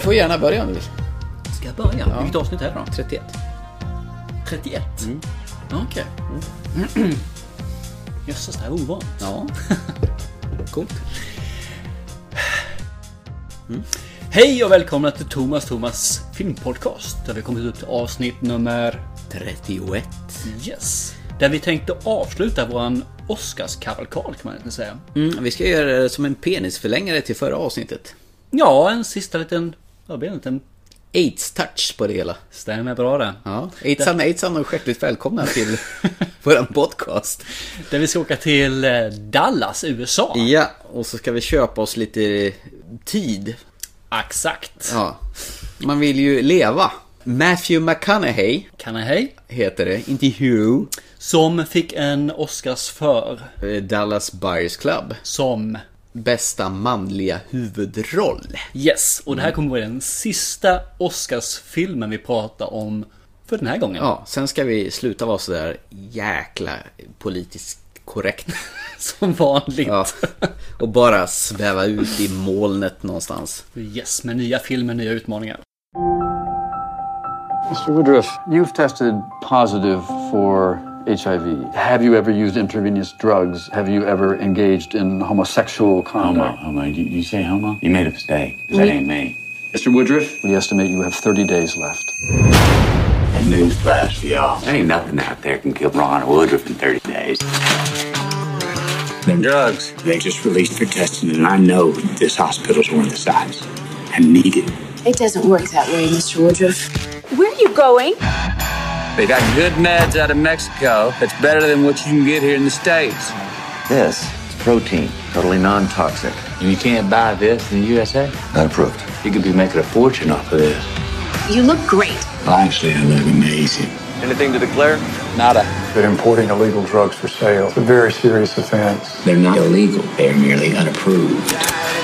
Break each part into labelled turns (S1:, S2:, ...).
S1: får gärna börja om du vill.
S2: Ska jag börja?
S1: Ja.
S2: Vilket avsnitt är det då?
S1: 31.
S2: 31?
S1: Mm.
S2: Okej. Jösses, det här var ovant.
S1: Ja. Coolt.
S2: Hej och välkomna till Thomas Thomas filmpodcast. Där vi kommit upp till avsnitt nummer...
S1: 31.
S2: Yes. Där vi tänkte avsluta våran Oscarskavalkad kan man egentligen säga.
S1: Mm, vi ska göra det som en penisförlängare till förra avsnittet.
S2: Ja, en sista liten... Jag vet inte. en-
S1: Aids-touch på det hela.
S2: Stämmer bra det.
S1: Ja. Aidsan, Aidsan och hjärtligt välkomna till våran podcast.
S2: Där vi ska åka till eh, Dallas, USA.
S1: Ja, och så ska vi köpa oss lite tid.
S2: Exakt.
S1: Ja. Man vill ju leva. Matthew McConaughey
S2: Kan jag hej?
S1: heter det, inte Hugh.
S2: Som fick en Oscars för...
S1: Eh, Dallas Buyers Club.
S2: Som...
S1: Bästa manliga huvudroll.
S2: Yes, och det här
S1: Mm.
S2: kommer vara den sista Oscarsfilmen vi pratar om för den här gången.
S1: Ja, sen ska vi sluta vara sådär jäkla politiskt korrekta.
S2: Som vanligt.
S1: Ja. Och bara sväva ut i molnet någonstans.
S2: Yes, med nya filmer, nya utmaningar.
S3: Mr. Woodruff, you've tested positive for HIV. Have you ever used intravenous drugs? Have you ever engaged in homosexual
S4: Homo,
S3: conduct?
S4: homo. You, you say homo? You made a mistake. 'cause That ain't me.
S3: Mr. Woodruff, we estimate you have 30 days left.
S4: Newsflash for y'all. There ain't nothing out there can kill Ron Woodruff in 30 days. Them drugs, they just released for testing, and I know this hospital's one of the sites. I need it.
S5: It doesn't work that way, Mr. Woodruff.
S6: Where are you going?
S7: They got good meds out of Mexico that's better than what you can get here in the States.
S8: This is protein, totally non toxic.
S4: And you can't buy this in the USA?
S8: Not approved.
S4: You could be making a fortune off of this.
S5: You look great.
S4: Actually, I look amazing.
S7: Anything to declare? Nada.
S9: that importing illegal drugs for sale is a very serious offense.
S4: They're not illegal, they're merely unapproved.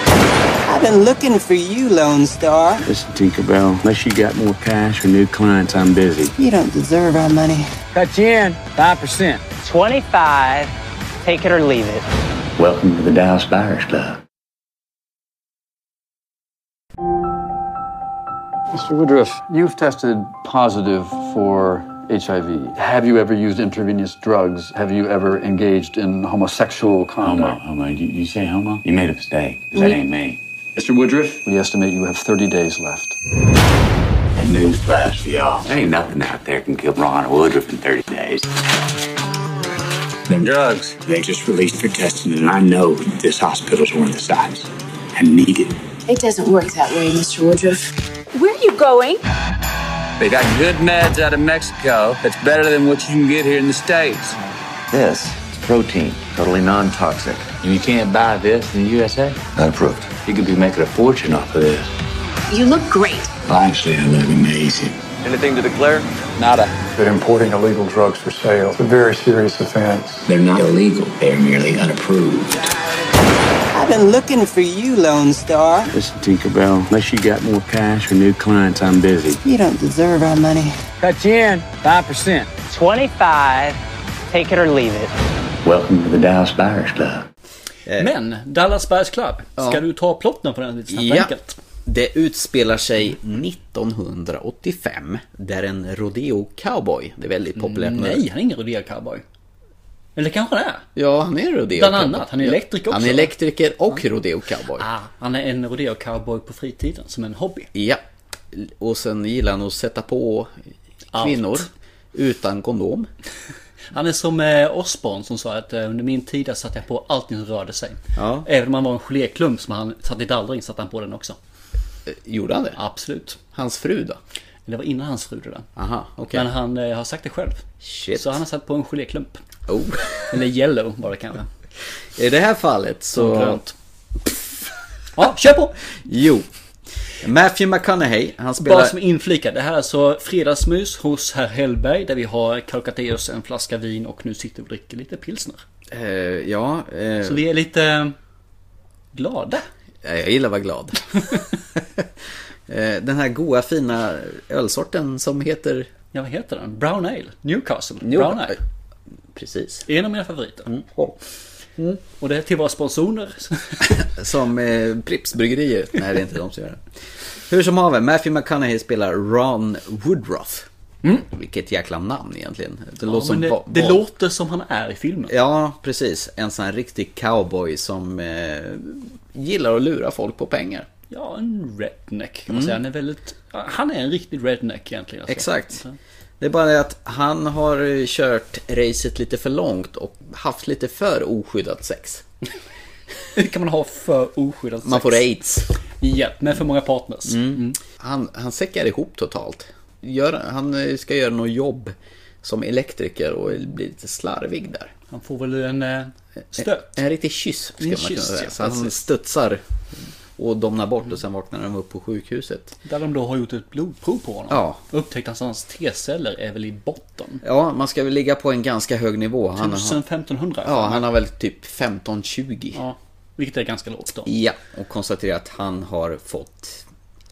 S10: I've been looking for you, Lone Star.
S4: Listen, Tinkerbell, unless you got more cash or new clients, I'm busy.
S10: You don't deserve our money.
S7: Cut you in 5%.
S10: 25. Take it or leave it.
S4: Welcome to the Dallas Buyers Club.
S3: Mr. Woodruff, you've tested positive for HIV. Have you ever used intravenous drugs? Have you ever engaged in homosexual
S4: Homo,
S3: conduct?
S4: homo. You, you say homo? You made a mistake. 'cause That ain't me.
S3: Mr. Woodruff, we estimate you have 30 days left.
S4: Newsflash for y'all. There ain't nothing out there can kill Ron Woodruff in 30 days. Them drugs, they just released for testing, and I know this hospital's one of the sites. I need it.
S5: It doesn't work that way, Mr. Woodruff.
S6: Where are you going?
S7: They got good meds out of Mexico that's better than what you can get here in the States.
S8: This is protein, totally non toxic.
S4: And you can't buy this in the USA?
S8: Not approved.
S4: You could be making a fortune off of this.
S5: You look great.
S4: Well, actually, I look amazing.
S7: Anything to declare? Nada.
S9: That importing illegal drugs for sale is a very serious offense.
S4: They're not illegal, they're merely unapproved.
S10: I've been looking for you, Lone Star.
S4: Listen, Tinkerbell, unless you got more cash or new clients, I'm busy.
S10: You don't deserve our money.
S7: Cut you in 5%.
S10: 25. Take it or leave it.
S4: Welcome to the Dallas Buyers Club.
S1: Eh,
S2: Men, Dallas Buyers Club. Ska
S1: Ja.
S2: du ta plotten på den lite snabbt och
S1: Ja.
S2: enkelt?
S1: Det utspelar sig 1985 där en rodeo cowboy, det är väldigt populärt nu.
S2: Nej, han är ingen rodeo cowboy. Eller kanske han är.
S1: Ja, han är rodeo
S2: Bland
S1: cowboy.
S2: annat, han är elektriker
S1: Han
S2: också.
S1: är elektriker och rodeo cowboy.
S2: Ah, han är en rodeo cowboy på fritiden, som en hobby.
S1: Ja. Och sen gillar han att sätta på kvinnor
S2: Allt.
S1: utan kondom.
S2: Han är som eh, Osborn som sa att eh, under min tid där satte jag på allting som rörde sig.
S1: Ja.
S2: Även om han var en geléklump som han satte i dallring satte han på den också.
S1: Gjorde han det?
S2: Absolut.
S1: Hans fru då?
S2: Det var innan hans fru det där.
S1: Aha, okej.
S2: Men han eh, har sagt det själv.
S1: Shit.
S2: Så han har satt på en geléklump.
S1: Oh.
S2: Eller yellow var det kanske.
S1: I det här fallet så...
S2: Grönt. Ja, kör på!
S1: Jo. Matthew McConaughey, han
S2: Bara
S1: spelar...
S2: som inflika, det här är alltså fredagsmys hos herr Hellberg där vi har kalkat i oss en flaska vin och nu sitter vi och dricker lite pilsner.
S1: Eh, ja, eh,
S2: Så vi är lite eh, glada.
S1: jag gillar att vara glad. Eh, den här goa fina ölsorten som heter...
S2: Ja, vad heter den? Brown Ale? Newcastle?
S1: New-
S2: Brown Ale.
S1: Precis.
S2: En av mina favoriter.
S1: Oh.
S2: Och det är till våra sponsorer.
S1: Som eh, Pripps bryggerier. Nej, det är inte de som gör det. Hur som haver, Matthew McConaughey spelar Ron Woodruff. Vilket jäkla namn egentligen. Det, låter, som
S2: Mm. Men det,
S1: va-
S2: det
S1: va-
S2: låter som han är i filmen.
S1: Ja, precis. En sån här riktig cowboy som eh, gillar att lura folk på pengar.
S2: Ja, en redneck kan man säga. Han är väldigt... Han är en riktig redneck egentligen. alltså.
S1: Mm. Exakt. Det är bara det att han har eh, kört racet lite för långt och haft lite för oskyddat sex.
S2: Hur kan man ha för oskyddat sex?
S1: Man får Mm. aids.
S2: Ja, men för många partners.
S1: Han, han säckar ihop totalt. Gör, han eh, ska göra något jobb som elektriker och blir lite slarvig där.
S2: Han får väl en eh, stöt.
S1: En riktig kyss skulle
S2: En
S1: man kunna
S2: kyss,
S1: säga.
S2: ja,
S1: Så han
S2: precis.
S1: studsar och domnar bort och sen vaknar de upp på sjukhuset.
S2: Där de då har gjort ett blodprov på honom.
S1: Ja.
S2: Upptäckt att hans T-celler är väl i botten.
S1: Ja, man ska väl ligga på en ganska hög nivå. Han har,
S2: 1500.
S1: ja, han har väl typ 15-20. Ja.
S2: Ja, vilket är ganska lågt då.
S1: och konstaterar att han har fått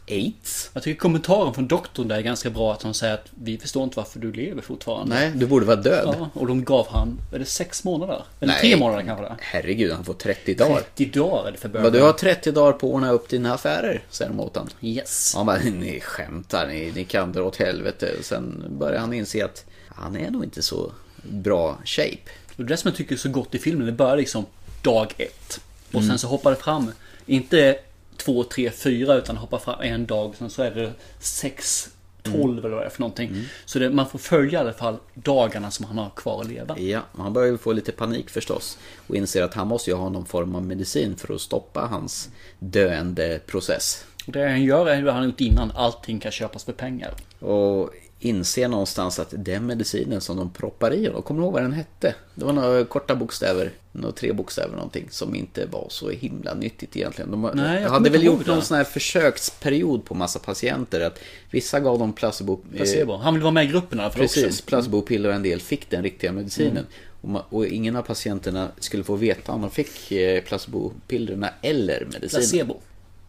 S1: aids.
S2: Jag tycker kommentaren från doktorn där är ganska bra att hon säger att vi förstår inte varför du lever fortfarande.
S1: Nej, du borde vara död.
S2: Ja, och de gav han, är det sex månader? Eller
S1: Nej.
S2: tre månader kanske det är?
S1: Herregud, han får 30 dagar.
S2: 30 dagar är det för början.
S1: Vad du har 30 dagar på att ordna upp dina affärer, säger de åt honom.
S2: Yes.
S1: Han bara, ni skämtar, ni, ni kan dra åt helvete. Och sen börjar han inse att han är nog inte så bra shape.
S2: Och det som jag tycker är så gott i filmen, det börjar liksom dag ett. Och
S1: Mm.
S2: sen så hoppar det fram, inte två, tre, fyra utan hoppar fram en dag. Sen så är det sex, tolv eller vad det är för någonting.
S1: Mm.
S2: Så det, man får följa i alla fall dagarna som han har kvar att leva.
S1: Ja, han börjar ju få lite panik förstås och inser att han måste ju ha någon form av medicin för att stoppa hans döende process.
S2: Och det han gör är vad han har gjort innan, allting kan köpas för pengar.
S1: Och inser någonstans att den medicinen som de proppar i honom, kommer du ihåg vad den hette? Det var några korta bokstäver, några tre bokstäver någonting som inte var så himla nyttigt egentligen. De
S2: Nej, jag kommer
S1: hade väl
S2: inte ihåg
S1: gjort
S2: det.
S1: någon sån här försöksperiod på massa patienter att vissa gav dem placebo... eh,
S2: Placebo. Han vill vara med i gruppen i alla fall
S1: Precis, Mm.
S2: också.
S1: placebopiller och en del fick den riktiga medicinen. Och, ma- och ingen av patienterna skulle få veta om de fick eh, placebopillerna eller medicinen.
S2: Placebo.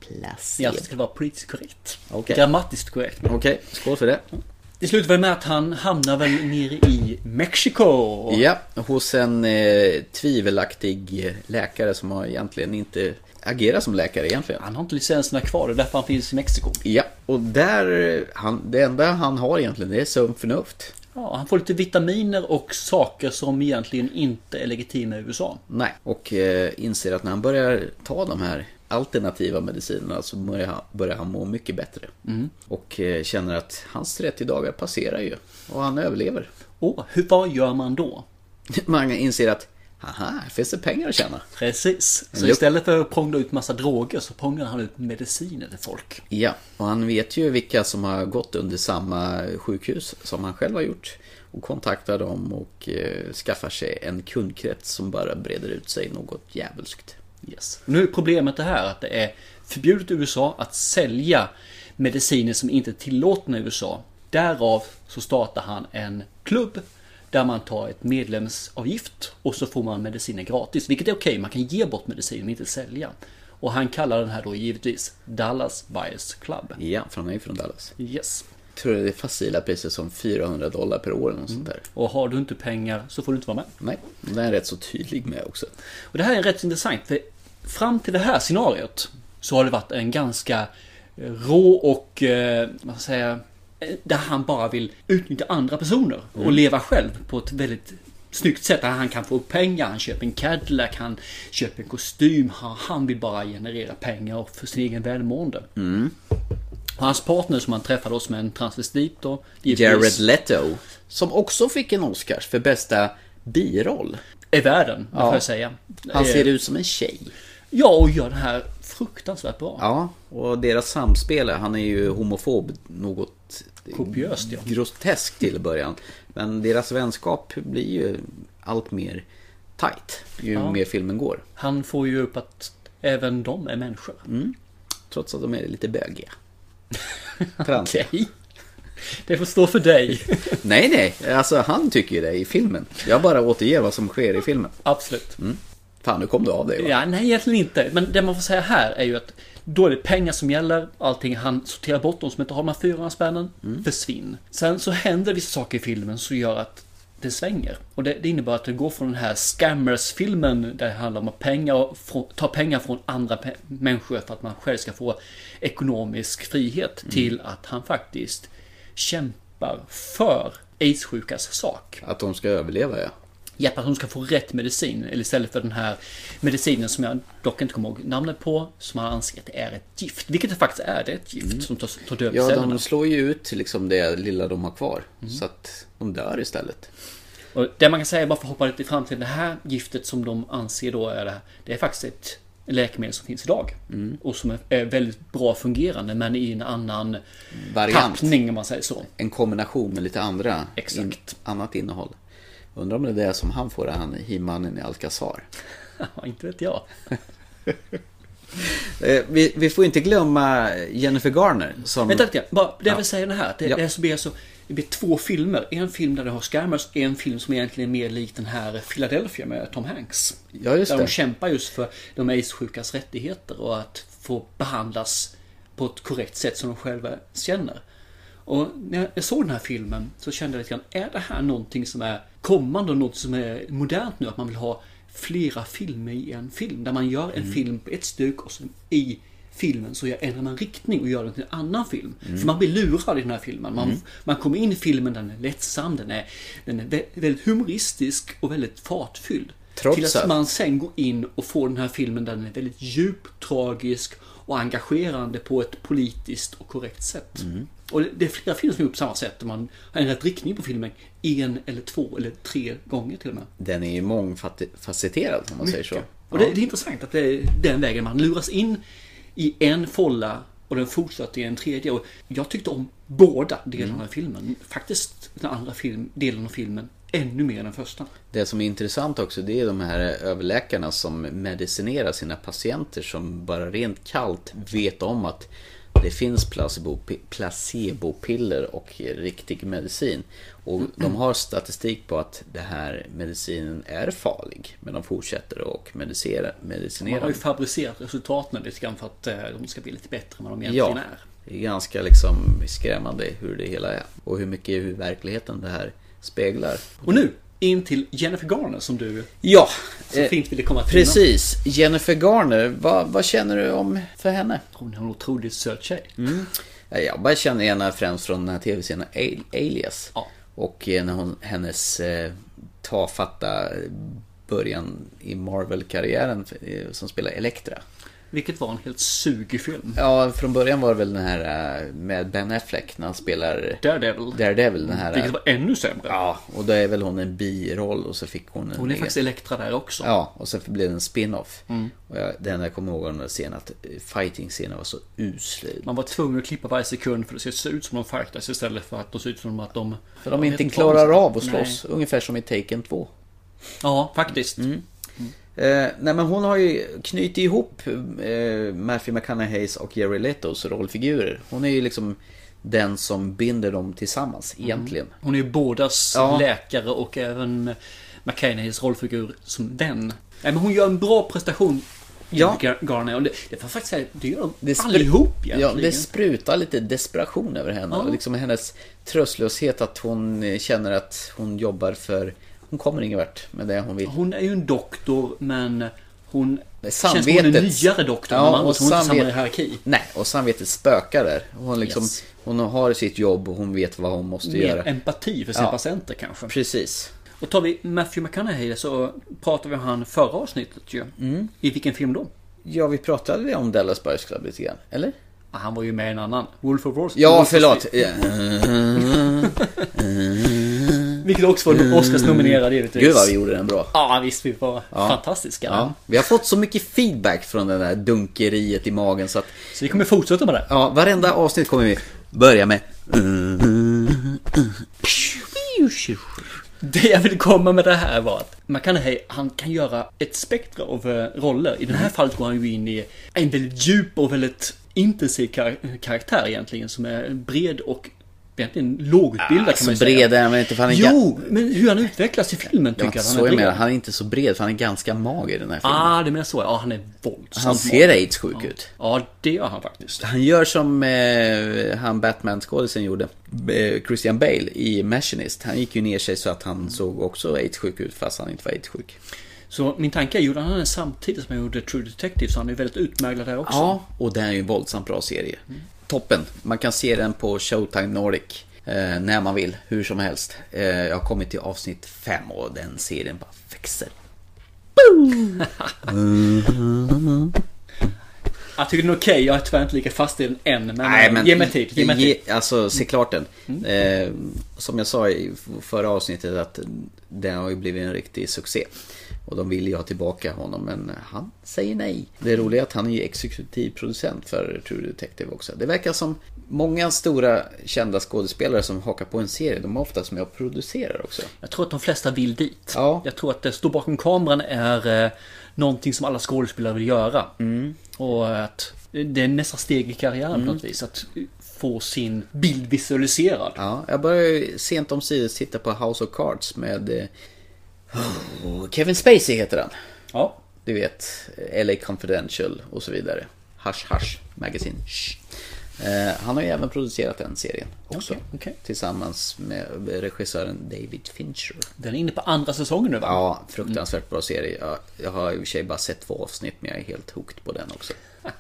S2: Ja,
S1: Placebo.
S2: det ska vara politiskt korrekt.
S1: Okej.
S2: Grammatiskt korrekt.
S1: Okej, skål för det.
S2: Det slutar väl med att han hamnar väl nere i Mexiko.
S1: Ja, hos en eh, tvivelaktig läkare som har egentligen inte agerat som läkare egentligen.
S2: Han har inte licenserna kvar, det är därför han finns i Mexiko.
S1: Ja, och där, eh, han, det enda han har egentligen det är sunt förnuft.
S2: Ja, han får lite vitaminer och saker som egentligen inte är legitima i USA.
S1: Nej, och eh, inser att när han börjar ta de här alternativa medicinerna så börjar han, börjar han må mycket bättre. Och eh, känner att hans 30 dagar passerar ju och han överlever.
S2: Och hur, vad gör man då?
S1: Man inser att haha, här finns det pengar att tjäna.
S2: Precis. Så
S1: Lupp.
S2: istället för att prångla ut massa droger så prånglar han ut mediciner till folk.
S1: Ja, och han vet ju vilka som har gått under samma sjukhus som han själv har gjort. Och kontaktar dem och eh, skaffar sig en kundkrets som bara breder ut sig något djävulskt.
S2: Yes. Nu är problemet det här att det är förbjudet i USA att sälja mediciner som inte är tillåtna i USA. Därav så startar han en klubb där man tar ett medlemsavgift och så får man mediciner gratis. Vilket är okej, man kan ge bort medicin men inte sälja. Och han kallar den här då givetvis Dallas Buyers Club.
S1: Ja, för han är ju från Dallas.
S2: Yes.
S1: tror det är facila priser som 400 dollar per år eller något sånt där.
S2: Och har du inte pengar så får du inte vara med.
S1: Nej, den är rätt så tydlig med också.
S2: Och det här är rätt intressant för fram till det här scenariot så har det varit en ganska eh, rå och, eh, vad ska jag säga, eh, där han bara vill utnyttja andra personer
S1: Mm.
S2: och leva själv på ett väldigt snyggt sätt. Där han kan få upp pengar, han köper en Cadillac, han köper en kostym, han, han vill bara generera pengar och för sin egen välmående.
S1: Mm.
S2: Och hans partner som han träffade oss med en transvestit då. givetvis,
S1: Jared Leto, som också fick en Oscars för bästa biroll.
S2: Är världen, det
S1: Ja.
S2: får jag säga.
S1: Han
S2: Eh,
S1: ser ut som en tjej.
S2: Ja, och gör det här fruktansvärt bra.
S1: Ja, och deras samspel, han är ju homofob något
S2: Kopiöst, ja.
S1: grotesk till början. Men deras vänskap blir ju allt mer tight ju mer filmen går.
S2: Han får ju upp att även de är människor.
S1: Trots att de är lite bögiga. Transiga.
S2: Okej. Det får stå för dig.
S1: Nej, nej. Alltså han tycker ju det i filmen. Jag bara återger vad som sker i filmen.
S2: Absolut.
S1: Fan, nu kom du av dig va?
S2: Ja, nej, egentligen inte. Men det man får säga här är ju att då är det pengar som gäller. Allting han sorterar bort, de som inte har de här 400 spännen, försvinn. Sen så händer vissa saker i filmen som gör att det svänger. Och det, det innebär att det går från den här scammers-filmen där det handlar om att pengar, och få- ta pengar från andra pe- människor för att man själv ska få ekonomisk frihet till att han faktiskt kämpar för aidssjukas sak.
S1: Att de ska överleva, ja.
S2: Japp, att hon ska få rätt medicin eller istället för den här medicinen som jag dock inte kommer ihåg namnet på som han anser att det är ett gift. Vilket det faktiskt är, det är ett gift som tar, tar död på
S1: Mm. Ja,
S2: cellerna.
S1: de slår ju ut liksom det lilla de har kvar.
S2: Mm.
S1: Så att de dör istället.
S2: Och det man kan säga, bara för att hoppa lite fram till det här giftet som de anser då är det här. Det är faktiskt ett läkemedel som finns idag.
S1: Mm.
S2: Och som är- är väldigt bra fungerande men i en annan
S1: Variant.
S2: tappning om man säger så.
S1: En kombination med lite andra,
S2: Exakt.
S1: annat innehåll. Undrar om det är det som han får, han he-mannen i Alcazar.
S2: Ja, inte vet jag.
S1: Eh, vi, vi får inte glömma Jennifer Garner som...
S2: Vänta lite, grann. bara det jag
S1: Ja.
S2: vill säga är det här. Det,
S1: Ja.
S2: det, är så blir så, det blir två filmer. En film där du har scammers, en film som egentligen är mer lik den här Philadelphia med Tom Hanks.
S1: Ja, just
S2: där
S1: det.
S2: de kämpar just för de aidssjukas rättigheter och att få behandlas på ett korrekt sätt som de själva känner. Och när jag såg den här filmen så kände jag lite grann, är det här någonting som är kommande och något som är modernt nu? Att man vill ha flera filmer i en film. Där man gör en
S1: Mm.
S2: film på ett styck och sen i filmen så gör- ändrar man riktning och gör den till en annan film.
S1: Mm.
S2: För man blir lurad i den här filmen. Man, man kommer in i filmen, den är lättsam, den är, den är vä- väldigt humoristisk och väldigt fartfylld.
S1: Trots
S2: till att,
S1: att-
S2: man sen går in och får den här filmen där den är väldigt djup, tragisk och engagerande på ett politiskt och korrekt sätt. Och det- det är flera filmer som är gjort på samma sätt. där Man har ändrat riktning på filmen en eller två eller tre gånger till och med.
S1: Den är ju mångfacetterad om man säger så.
S2: Och det, det är intressant att det är den vägen man luras in i en folla och den fortsätter i en tredje. Och jag tyckte om båda delarna av filmen. Faktiskt den andra film, delen av filmen ännu mer än den första.
S1: Det som är intressant också det är de här överläkarna som medicinerar sina patienter som bara rent kallt vet om att det finns placebo, placebopiller och riktig medicin. Och
S2: Mm.
S1: de har statistik på att det här medicinen är farlig. Men de fortsätter och medicera, medicinera.
S2: Man har ju fabricerat resultaten lite grann för att eh, de ska bli lite bättre än vad de egentligen
S1: Ja,
S2: är.
S1: det är ganska liksom skrämmande hur det hela är. Och hur mycket hur verkligheten det här speglar.
S2: Och nu in till Jennifer Garner som du
S1: Ja,
S2: så
S1: eh,
S2: fint ville komma till.
S1: Precis. Jennifer Garner, vad, vad känner du om för henne?
S2: innan. Hon är en otroligt söt tjej.
S1: Mm. Ja, Jag bara känner henne främst från den här tv-serien Al- Alias.
S2: Ja.
S1: Och eh, när hon, hennes eh, tafatta början i Marvel-karriären eh, som spelar Elektra.
S2: Vilket var en helt sugig film.
S1: Ja, från början var det väl den här eh, med Ben Affleck när han spelar
S2: Daredevil.
S1: Daredevil. Den här, eh,
S2: Vilket var ännu sämre.
S1: ja, och då är väl hon en biroll och så fick hon Mm. en
S2: Hon är
S1: egen-
S2: faktiskt Elektra där också.
S1: Ja, och sen blev det en spin-off. Och jag, det enda jag kommer ihåg av den där scenen att eh, fighting-scenen var så usel.
S2: Man var tvungen att klippa varje sekund för det ser ut som de fightas istället för att de ser ut som att de...
S1: För de
S2: jag vet
S1: inte
S2: vad de
S1: klarar
S2: ska-
S1: av att slåss, ungefär som i Taken 2.
S2: Nej. Ja, faktiskt.
S1: Mm. Eh, nej men hon har ju knutit ihop eh, Matthew McConaugheys och Jerry Letos rollfigurer. Hon är ju liksom den som binder dem tillsammans egentligen.
S2: Hon är ju bådas
S1: Ja.
S2: läkare och även McCananeys rollfigur som vän. Nej, men hon gör en bra prestation.
S1: Ja.
S2: Jennifer Garner. Och det, det får jag faktiskt säga, det gör de
S1: spru-
S2: allihop
S1: ja,
S2: egentligen.
S1: det sprutar lite desperation över henne.
S2: Ja.
S1: Och liksom hennes tröstlöshet att hon eh, känner att hon jobbar för... Hon kommer ingen vart med det hon vill.
S2: Hon är ju en doktor men hon...
S1: Samvetet.
S2: Känns som hon är nyare doktor än de andra, så hon är inte samma
S1: samvet-
S2: hierarki.
S1: Nej, och samvetet spökar där. Hon, liksom,
S2: Yes.
S1: hon har sitt jobb och hon vet vad hon måste
S2: Mer
S1: göra.
S2: empati för sina
S1: Ja.
S2: patienter kanske.
S1: Precis.
S2: Och tar vi Matthew McConaughey så pratade vi om han förra avsnittet ju.
S1: Mm.
S2: I vilken film då?
S1: Ja, vi pratade väl om Dallas Buyers Club lite grann, eller?
S2: Ah, Han var ju med i en annan. Wolf of Wall Street. Wolf
S1: Ja,
S2: of
S1: förlåt.
S2: Street.
S1: Ja.
S2: Vilket också var Oscars-nominerad givetvis.
S1: Gud vad vi gjorde den bra.
S2: Ja, visst. Vi var fantastiska.
S1: Ja, vi har fått så mycket feedback från det där dunkeriet i magen så att
S2: Så vi kommer fortsätta med det.
S1: ja, varenda avsnitt kommer vi börja med
S2: Det jag vill komma med det här var att McConaughey, han kan göra ett spektra av eh, roller. I det
S1: Mm.
S2: här fallet går han ju in i en väldigt djup och väldigt intensiv kar- karaktär egentligen. Som är bred och egentligen lågutbildad kan
S1: Ah, Så
S2: man ju säga.
S1: bred är han väl inte för han är
S2: Jo, men hur han utvecklas i filmen tycker
S1: Ja,
S2: jag att han
S1: så
S2: är
S1: jag menar,
S2: bred.
S1: han är inte så bred för han är ganska mager i den här filmen.
S2: Ah, det menar så. Ja, han är våldsam.
S1: han ser aids-sjuk ut.
S2: Ja, det gör han faktiskt.
S1: Han gör som eh, han Batman-skådisen gjorde, eh, Christian Bale i Machinist. Han gick ju ner sig så att han såg också aids-sjuk ut fast han inte var aids-sjuk.
S2: Så min tanke är, gjorde han den samtidigt som han gjorde True Detective så han är väldigt utmärglad där också.
S1: Ja, och det är ju en våldsamt bra serie. Toppen! Man kan se den på Showtime Nordic eh, när man vill, hur som helst. Eh, jag har kommit till avsnitt 5 och den serien bara växer.
S2: Jag tycker den är okej, jag är tyvärr inte lika fast i den än. Men, eh, ge mig tid. Ge mig tid. Mm.
S1: ge- alltså, se klart den. Eh, som jag sa i förra avsnittet att den har ju blivit en riktig succé. Och de vill ju ha tillbaka honom, men han säger nej. Det roliga är att han är ju exekutiv producent för True Detective också. Det verkar som många stora kända skådespelare som hakar på en serie, de är oftast med och producerar också.
S2: Jag tror att de flesta vill dit.
S1: Ja.
S2: Jag tror att det står bakom kameran är eh, någonting som alla skådespelare vill göra.
S1: Mm.
S2: Och att det är nästa steg i karriären på något vis. Att få sin bild visualiserad.
S1: Ja, jag började ju sent om titta på House of Cards med eh, oh, Kevin Spacey heter han.
S2: Ja.
S1: du vet, LA Confidential och så vidare. Hush Hush Magazine. Shh. Eh, han har ju även producerat den serien också.
S2: Okej, okej.
S1: Tillsammans med regissören David Fincher.
S2: Den är inne på andra säsongen nu va?
S1: Ja, fruktansvärt bra serie. Jag, jag har i och för sig bara sett två avsnitt men jag är helt hooked på den också.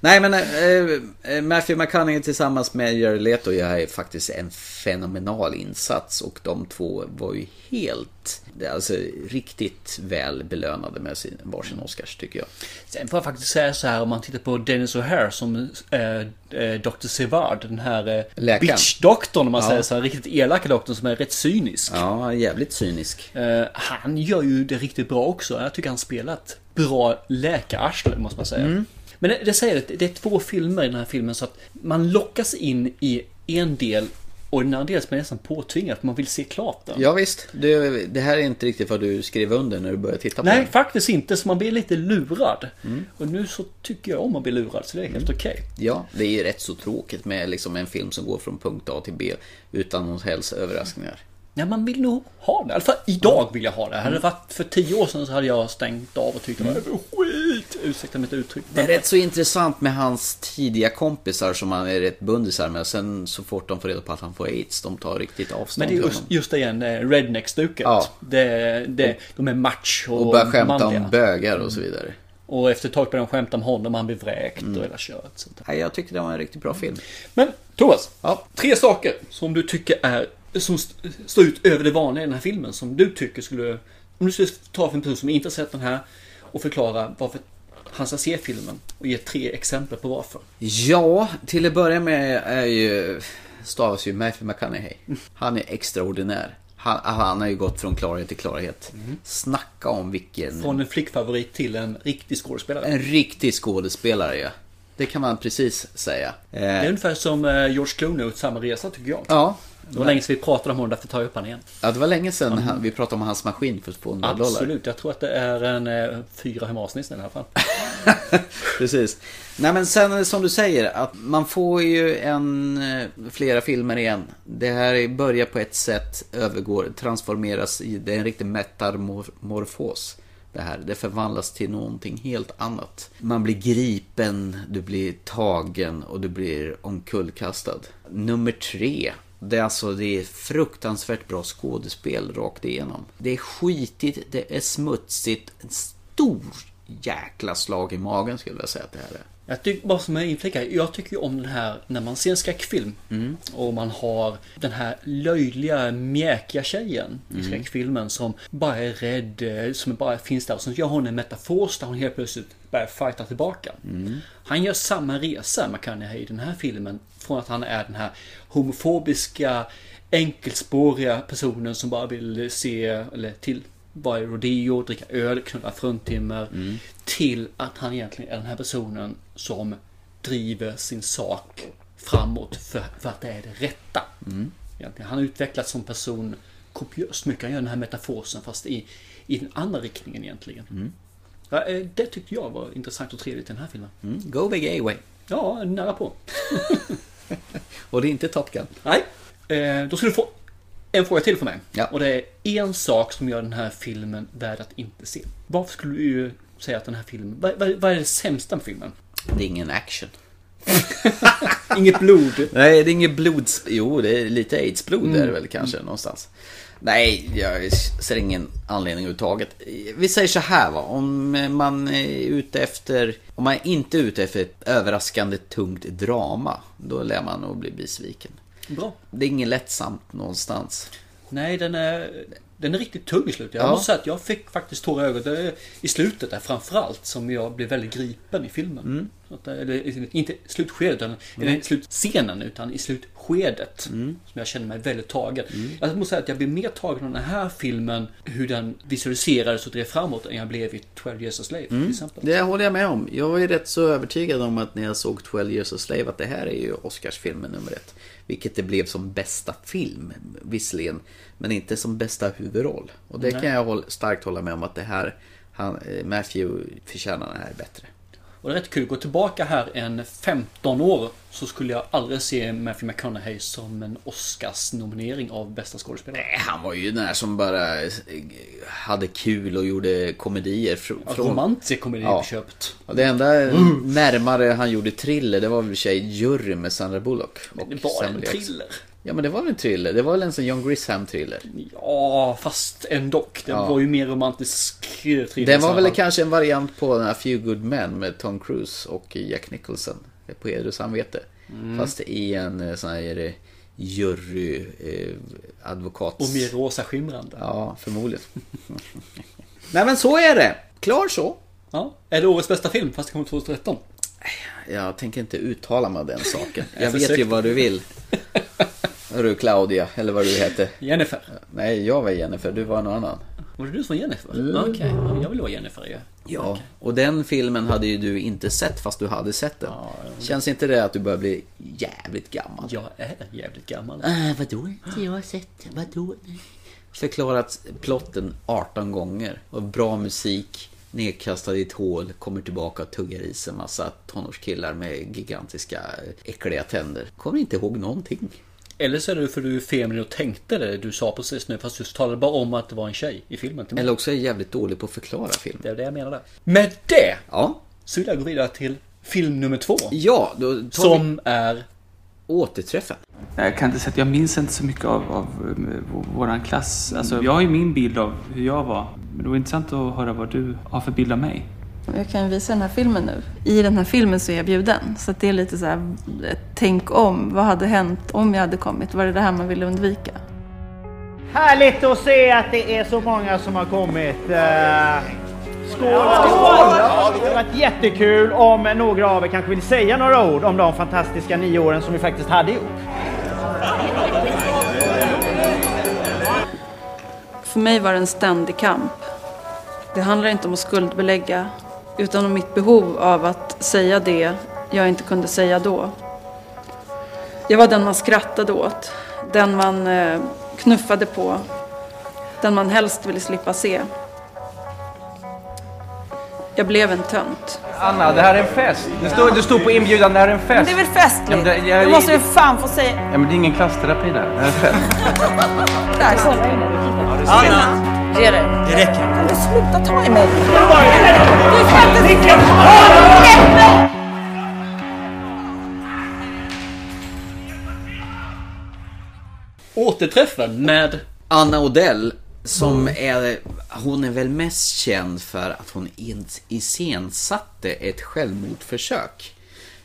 S1: Nej men eh, eh, Matthew McConaughey tillsammans med Jared Leto gör ju faktiskt en fenomenal insats och de två var ju helt, alltså riktigt väl belönade med sin varsin Oscars tycker jag.
S2: Sen får jag faktiskt säga så här om man tittar på Dennis O'Hare som eh, eh, Dr. Sevard. Den här eh,
S1: Läkaren.
S2: bitch-doktorn om man säger så här. Riktigt elaka doktorn som är rätt cynisk.
S1: Ja, jävligt cynisk.
S2: Eh, han gör ju det riktigt bra också. Jag tycker han spelar ett bra läkararsle, måste man säga. Men det, det säger det, det är två filmer i den här filmen så att man lockas in i en del och den andra delen är nästan påtvingad för man vill se klart den.
S1: Ja, visst, du, det här är inte riktigt vad du skrev under när du började titta på
S2: Nej,
S1: den.
S2: faktiskt inte. Så man blir lite lurad. Och nu så tycker jag om att bli lurad, så det är helt okej.
S1: Ja, det är ju rätt så tråkigt med liksom en film som går från punkt A till B utan någon helst överraskningar.
S2: Nej, man vill nog ha det. I alla fall idag vill jag ha det. Hade det varit för tio år sedan så hade jag stängt av och tyckt att det var skit. Ursäkta mitt uttryck.
S1: Det är rätt så intressant med hans tidiga kompisar som han är rätt bundisar med. Sen så fort de får reda på att han får aids, de tar riktigt
S2: Men
S1: avstånd
S2: det är
S1: från
S2: just,
S1: honom.
S2: just det igen, eh, redneck-stuket.
S1: Ja.
S2: Det, det, de är match och,
S1: Och börjar skämta
S2: manliga.
S1: om bögar och så vidare.
S2: Och efter ett tag börjar de skämta om honom, han blir vräkt
S1: Mm.
S2: och hela köret. Sånt där.
S1: Nej, jag tyckte det var en riktigt bra film.
S2: Men Thomas,
S1: Ja.
S2: tre saker som du tycker är som st- står ut över det vanliga i den här filmen. Som du tycker skulle... Om du skulle ta för en person som inte har sett den här och förklara varför han ska se filmen och ge tre exempel på varför.
S1: Mm. Ja, till att börja med är ju, stavas ju Matthew McConaughey. Han är extraordinär. Han, alltså, han har ju gått från klarhet till klarhet. Snacka om vilken...
S2: Från en flickfavorit till en riktig skådespelare.
S1: En riktig skådespelare ja. Det kan man precis säga. Eh,
S2: Det är ungefär som eh, George Clooney och samma resa tycker jag.
S1: ja.
S2: Det var länge sedan vi pratade om honom, därför tar jag upp honom igen.
S1: ja, det var länge sedan han, vi pratade om hans maskin för 200 dollar.
S2: Absolut, jag tror att det är en eh, fyra hemasnitt i alla fall.
S1: Precis. Nej men sen som du säger, att man får ju en, eh, flera filmer igen. Det här är- börjar på ett sätt, övergår, transformeras i, det är en riktig metamorfos. Det här, det förvandlas till någonting helt annat. Man blir gripen, du blir tagen och du blir omkullkastad. Nummer tre, det är alltså det är fruktansvärt bra skådespel rakt igenom. Det är skitigt, det är smutsigt, en stor jäkla slag i magen skulle jag säga att det här är.
S2: Jag tycker, bara som en inflikar, jag tycker ju om den här när man ser en skräckfilm och man har den här löjliga, mjäkiga tjejen i skräckfilmen som bara är rädd, eh, som bara finns där. Och sen gör hon en metafors där hon helt plötsligt börjar fighta tillbaka. Han gör samma resa, McConaughey, i den här filmen. Från att han är den här homofobiska, enkelspåriga personen som bara vill se, eller till vara i rodeo, dricka öl, knulla fruntimmer. Till att han egentligen är den här personen som driver sin sak framåt för, för att det är det rätta. Egentligen. Han har utvecklats som person kopiöst mycket. Han gör den här metaforsen fast i, i den andra riktningen egentligen. Ja, eh, det
S1: Mm,
S2: tyckte jag var intressant och trevligt i den här filmen.
S1: Go big away.
S2: Ja, nära på.
S1: Och det är inte Top Gun.
S2: Nej. Eh, då ska du få en fråga till för mig.
S1: Ja.
S2: Och det är en sak som gör den här filmen värd att inte se. Varför skulle du säga att den här filmen... Vad, vad, vad är det sämsta med filmen?
S1: Det är ingen action.
S2: Inget blod.
S1: Nej, det är inget blods... Jo, det är lite aids-blod är det väl kanske någonstans. Nej, jag ser ingen anledning överhuvudtaget. Vi säger så här va, om man är ute efter... Om man inte är ute efter ett överraskande tungt drama, då lär man nog bli besviken.
S2: Bra.
S1: Det är inget lättsamt någonstans.
S2: Nej, den är, den är riktigt tung i slutet. Jag
S1: Ja.
S2: måste säga att jag fick faktiskt tårar i ögat eh, i slutet där framförallt som jag blev väldigt gripen i filmen.
S1: Mm.
S2: Så att, eh, eller, inte slutskedet, utan, eller slutscenen, utan i slutskedet.
S1: Mm.
S2: Som jag kände mig väldigt tagen. Jag måste säga att jag blev mer tagen av den här filmen, hur den visualiserades och drev framåt, än jag blev i 12 Years a Slave till exempel.
S1: Mm. Det håller jag med om. Jag är rätt så övertygad om att när jag såg 12 Years a Slave att det här är ju Oscarsfilmen nummer ett. Vilket det blev som bästa film, visserligen. Men inte som bästa huvudroll. Och det kan jag håll- starkt hålla med om att det här, han, eh, Matthew förtjänar det här bättre.
S2: Och det är rätt kul, gå tillbaka här en 15 år så skulle jag aldrig se Matthew McConaughey som en Oscars-nominering av bästa skådespelare.
S1: Nej, Eh, Han var ju den här som bara eh, hade kul och gjorde komedier. fr-
S2: Ja, Mm.
S1: från-
S2: Romantisk komedi
S1: Ja.
S2: på köpet.
S1: Ja, Det enda närmare han gjorde thriller, det var väl i och för sig Jury med Sandra Bullock. Och
S2: Det var
S1: Samuel
S2: en
S1: Jackson.
S2: thriller.
S1: Ja men det var väl en thriller? Det var väl en sån John Grisham-thriller?
S2: Ja, fast ändå. Den
S1: Ja.
S2: var ju mer romantisk eh, thriller.
S1: Den var
S2: i
S1: väl
S2: alla fall.
S1: kanske en variant på den här Few Good Men med Tom Cruise och Jack Nicholson. På heder och samvete.
S2: Mm.
S1: Fast i en eh, sån här eh, jury eh, advokats...
S2: Och mer rosa skimrande. Ja.
S1: Ja, förmodligen. Nej men så är det! Klar så!
S2: Är det årets bästa film fast det kom 2013?
S1: Jag tänker inte uttala mig om den saken. Jag
S2: Jag
S1: vet ju
S2: försökte.
S1: vad du vill. Du Claudia, eller vad du hette.
S2: Jennifer.
S1: Nej, jag var Jennifer, du var någon annan.
S2: Var det du som var Jennifer?
S1: Mm.
S2: Okej, jag vill vara Jennifer ju.
S1: Ja, och den filmen hade ju du inte sett fast du hade sett den. Känns inte det att du börjar bli jävligt gammal?
S2: Jag är jävligt gammal.
S1: Äh, vadå inte jag har sett den? Vadå? Nej. Förklarat plotten 18 gånger. Och bra musik, nedkastad i ett hål, kommer tillbaka och tuggar i sig en massa tonårskillar med gigantiska eh, äckliga tänder. Kommer inte ihåg någonting.
S2: Eller så är det för du är feminin och tänkte det du sa precis nu fast du talade bara om att det var en tjej i filmen till mig.
S1: Eller också är jag jävligt dålig på att förklara film.
S2: Det är det jag menade. Med det
S1: Ja,
S2: så vill jag gå vidare till film nummer två.
S1: ja då tar vi
S2: Som är...
S1: återträffen.
S11: Jag kan inte säga att jag minns inte så mycket av, av vår klass. Alltså, jag har ju min bild av hur jag var. Men det var intressant att höra vad du har för bild av mig.
S12: Jag kan visa den här filmen nu. I den här filmen så är jag bjuden. Så att det är lite så här, eh, tänk om. Vad hade hänt om jag hade kommit? Var det det här man ville undvika?
S13: Härligt att se att det är så många som har kommit. Eh, Skål! Det har varit jättekul om några av er kanske vill säga några ord om de fantastiska nio åren som vi faktiskt hade ihop.
S12: För mig var det en ständig kamp. Det handlar inte om att skuldbelägga. Utan om mitt behov av att säga det jag inte kunde säga då. Jag var den man skrattade åt. Den man eh, knuffade på. Den man helst ville slippa se. Jag blev en tönt.
S11: Anna, det här är en fest. Det stod, det stod på inbjudan, det här är en fest.
S12: Men det är väl festligt?
S11: Ja, men det, jag,
S12: Du måste ju
S11: fan få säga... Ja, men det är ingen klassterapi där. Det här är en fest.
S12: Där.
S11: Anna!
S12: Ge dig. Det räcker.
S14: Kan du sluta ta i mig?
S2: Återträffen med
S1: Anna Odell som är, hon är väl mest känd för att hon in- iscensatte ett självmordsförsök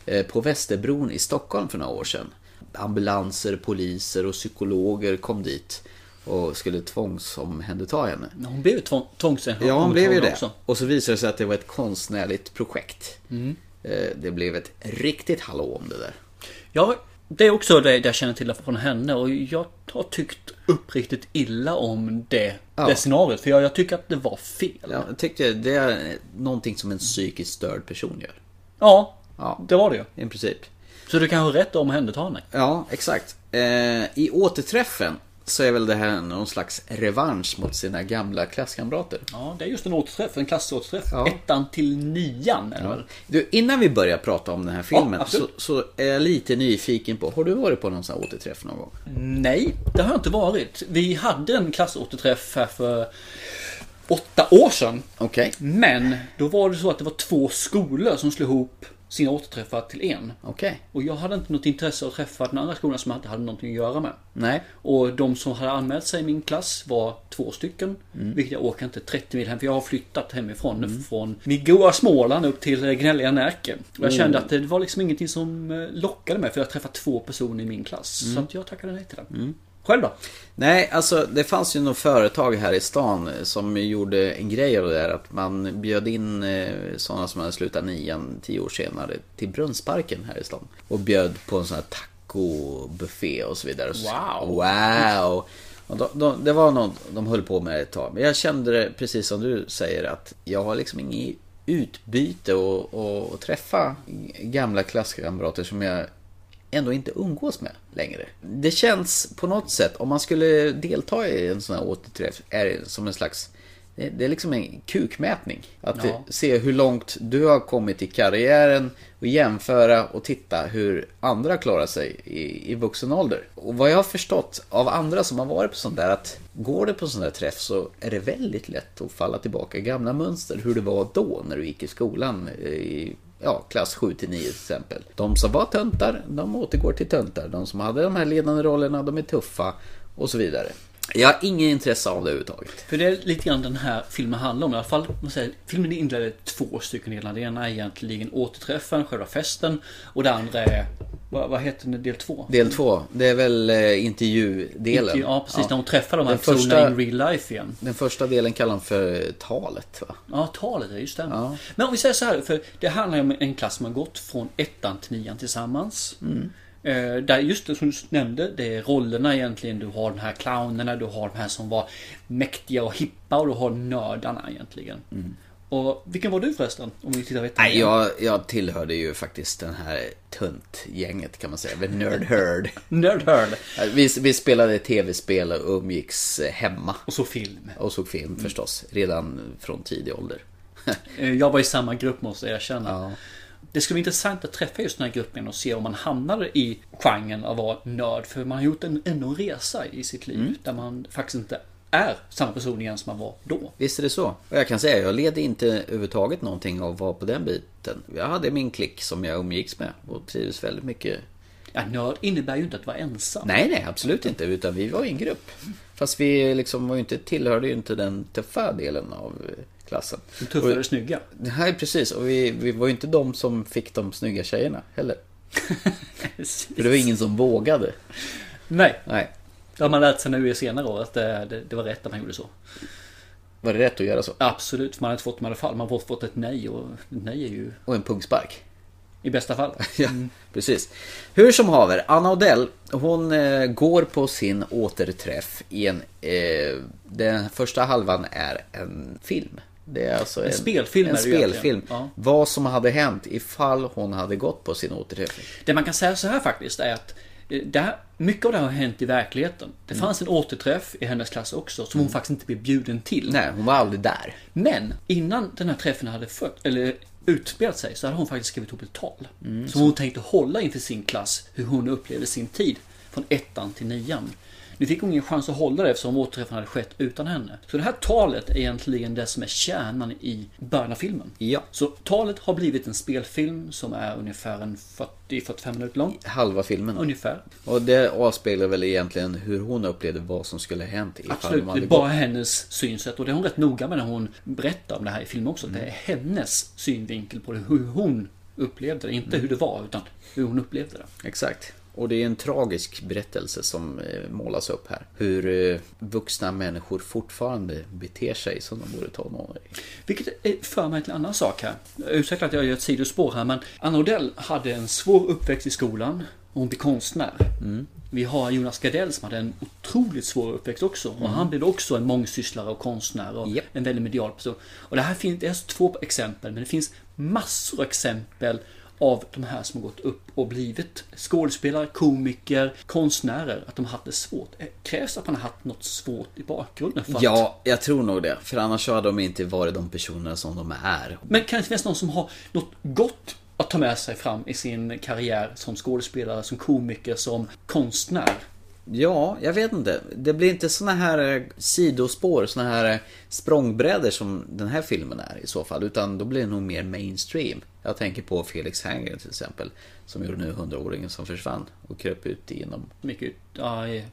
S1: eh, på Västerbron i Stockholm för några år sedan. Ambulanser, poliser och psykologer kom dit och skulle tvångsomhänderta henne.
S2: Men Hon blev ju tvång- tvångsenhörd.
S1: Ja, hon blev ju det.
S2: Också.
S1: Och så visade det sig att det var ett konstnärligt projekt. Eh, Det blev ett riktigt hallå om det där.
S2: Ja, det är också det jag känner till från henne och jag har tyckt uppriktigt illa om det,
S1: Ja.
S2: det scenariot. För jag, jag tycker att det var fel.
S1: Ja, Jag tyckte det är någonting som en psykiskt störd person gör.
S2: Ja,
S1: Ja.
S2: det var det ju.
S1: I princip.
S2: Så du kan ha rätt om henne, ta henne.
S1: Ja, exakt. Eh, I återträffen så är väl det här någon slags revansch mot sina gamla klasskamrater.
S2: Ja, det är just en återträff, en klassåterträff. Ettan till nian. Eller? väl?
S1: Du, innan vi börjar prata om den här filmen
S2: Ja,
S1: så,
S2: absolut.
S1: så är jag lite nyfiken på, har du varit på någon sån här återträff någon gång?
S2: Mm. Nej, det har jag inte varit. Vi hade en klassåterträff här för åtta år sedan.
S1: Okej.
S2: Men då var det så att det var två skolor som slog ihop sina återträffar till en.
S1: Okej.
S2: Och jag hade inte något intresse av att träffa den andra skolan som jag inte hade någonting att göra med.
S1: Nej.
S2: Och de som hade anmält sig i min klass var två stycken.
S1: Mm.
S2: Vilket jag åker inte 30 mil hem för jag har flyttat hemifrån.
S1: Mm.
S2: Från min goa Småland upp till eh, gnälliga Närke. Och jag
S1: Oh.
S2: kände att det var liksom ingenting som eh, lockade mig för jag träffade två personer i min klass. Så
S1: Mm.
S2: att jag tackade nej till den.
S1: Mm.
S2: Själv då?
S1: Nej, alltså det fanns ju något företag här i stan som gjorde en grej av det där att man bjöd in sådana som hade slutat nian tio år senare till Brunnsparken här i stan. Och bjöd på en sån här tacobuffé och så vidare.
S2: Wow.
S1: Wow! Och de, de, det var något de höll på med ett tag. Men jag kände det precis som du säger att jag har liksom inget utbyte och, och, och träffa gamla klasskamrater som jag ändå inte umgås med längre. Det känns på något sätt, om man skulle delta i en sån här återträff, är det som en slags det det är liksom en kukmätning. Att
S2: Ja.
S1: se hur långt du har kommit i karriären och jämföra och titta hur andra klarar sig i, i vuxen ålder. Och vad jag har förstått av andra som har varit på sånt där att går det på en sån där träff så är det väldigt lätt att falla tillbaka i gamla mönster. Hur det var då när du gick i skolan eh, i ja, klass 7 till 9 till exempel. De som var töntar, de återgår till töntar. De som hade de här ledande rollerna, de är tuffa och så vidare. Jag har inget intresse av det överhuvudtaget.
S2: För det är lite grann den här filmen handlar om. I alla fall, man säger, filmen inleder två stycken delar. Det ena är egentligen återträffen, själva festen. Och det andra är, vad, vad heter den, del två?
S1: Del två, det är väl eh, intervjudelen?
S2: Intervju- ja, precis, när hon träffar de här
S1: Den
S2: personerna in real life igen.
S1: Den första delen kallar hon för talet va?
S2: Ja, talet är just det. Men om vi säger så här, för det handlar ju om en klass som har gått från ettan till nian tillsammans.
S1: Mm.
S2: Eh, Där just det som du nämnde, det är rollerna egentligen. Du har de här clownerna, du har de här som var mäktiga och hippa och du har nördarna egentligen. Och vilken var du förresten? Om vi tittar på ettan
S1: Mm. Nej,
S2: igen?
S1: jag, jag tillhörde ju faktiskt den här tuntgänget kan man säga, The Nerd Herd.
S2: Nerd Herd.
S1: Vi, vi spelade tv-spel och umgicks hemma.
S2: Och såg film.
S1: Och såg film
S2: Mm.
S1: förstås, redan från tidig ålder.
S2: Eh, Jag var i samma grupp måste jag erkänna. Det skulle vara intressant att träffa just den här gruppen och se om man hamnade i genren av att vara nörd. För man har gjort en, ändå en resa i sitt
S1: Mm.
S2: liv där man faktiskt inte är samma person igen som man var då.
S1: Visst är det så. Och jag kan säga, jag ledde inte överhuvudtaget någonting av vad på den biten. Jag hade min klick som jag umgicks med och trivdes väldigt mycket
S2: Ja, nörd innebär ju inte att vara ensam.
S1: Nej, nej, absolut inte. Utan vi var i en grupp. Fast vi liksom var ju inte, tillhörde ju inte den tuffa delen av eh, klassen.
S2: De tuffare
S1: Och-
S2: och snygga.
S1: Nej, precis. Och vi, vi var ju inte de som fick de snygga tjejerna heller. För det var ingen som vågade.
S2: Nej.
S1: Nej.
S2: Det har man lärt sig nu i senare år att det, det, det var rätt att man gjorde så.
S1: Var det rätt att göra så?
S2: Absolut, för man har inte fått de i alla fall. Man har fått ett nej och ett nej är ju
S1: Och en pungspark.
S2: i bästa fall.
S1: Ja,
S2: Mm.
S1: precis. Hur som haver, Anna Odell, hon eh, går på sin återträff i en... Eh, den första halvan är en film. Det är alltså
S2: En spelfilm
S1: En
S2: är det ju egentligen.
S1: spelfilm.
S2: Ja.
S1: Vad som hade hänt ifall hon hade gått på sin återträff.
S2: Det man kan säga så här faktiskt är att eh, det här, mycket av det här har hänt i verkligheten. Det fanns en återträff i hennes klass också som hon faktiskt inte blev bjuden till.
S1: Mm. Nej, hon var aldrig där.
S2: Men innan den här träffen hade fött, eller utspelat sig så hade hon faktiskt skrivit ihop ett tal.
S1: Mm,
S2: som
S1: så.
S2: hon tänkte hålla inför sin klass hur hon upplevde sin tid. Från ettan till nian. Nu fick hon ingen chans att hålla det eftersom återträffen hade skett utan henne. Så det här talet är egentligen det som är kärnan i början av filmen.
S1: Ja.
S2: Så talet har blivit en spelfilm som är ungefär en 40-45 minuter lång.
S1: Halva filmen.
S2: Ungefär.
S1: Och det avspeglar väl egentligen hur hon upplevde vad som skulle ha hänt ifall
S2: Absolut,
S1: hon
S2: det är
S1: hade
S2: bara
S1: gått.
S2: hennes synsätt och det är hon rätt noga med när hon berättar om det här i filmen också. Det är hennes synvinkel på det, hur hon upplevde det. Inte hur det var, utan hur hon upplevde det.
S1: Exakt. Och det är en tragisk berättelse som eh, målas upp här. Hur eh, vuxna människor fortfarande beter sig som de vore tonåringar.
S2: Vilket är- för mig till en annan sak här. Ursäkta att jag gör ett sidospår här, men Anna Odell hade en svår uppväxt i skolan. Hon blev konstnär.
S1: Mm.
S2: Vi har Jonas Gardell som hade en otroligt svår uppväxt också. Och
S1: Mm.
S2: han blev också en mångsysslare och konstnär och en väldigt medial person. Och det här finns, det är alltså två exempel, men det finns massor av exempel av de här som har gått upp och blivit skådespelare, komiker, konstnärer. Att de har haft det svårt. Eh, Krävs att man har haft något svårt i bakgrunden? För att...
S1: Ja, jag tror nog det. För annars hade de inte varit de personerna som de är.
S2: Men kan det inte finnas någon som har något gott att ta med sig fram i sin karriär som skådespelare, som komiker, som konstnär?
S1: Ja, jag vet inte. Det blir inte såna här eh, sidospår, såna här eh, språngbrädor som den här filmen är i så fall. Utan då blir det nog mer mainstream. Jag tänker på Felix Herngren till exempel. Som gjorde nu 100-åringen som försvann och kröp ut genom...
S2: Mycket ja, eh,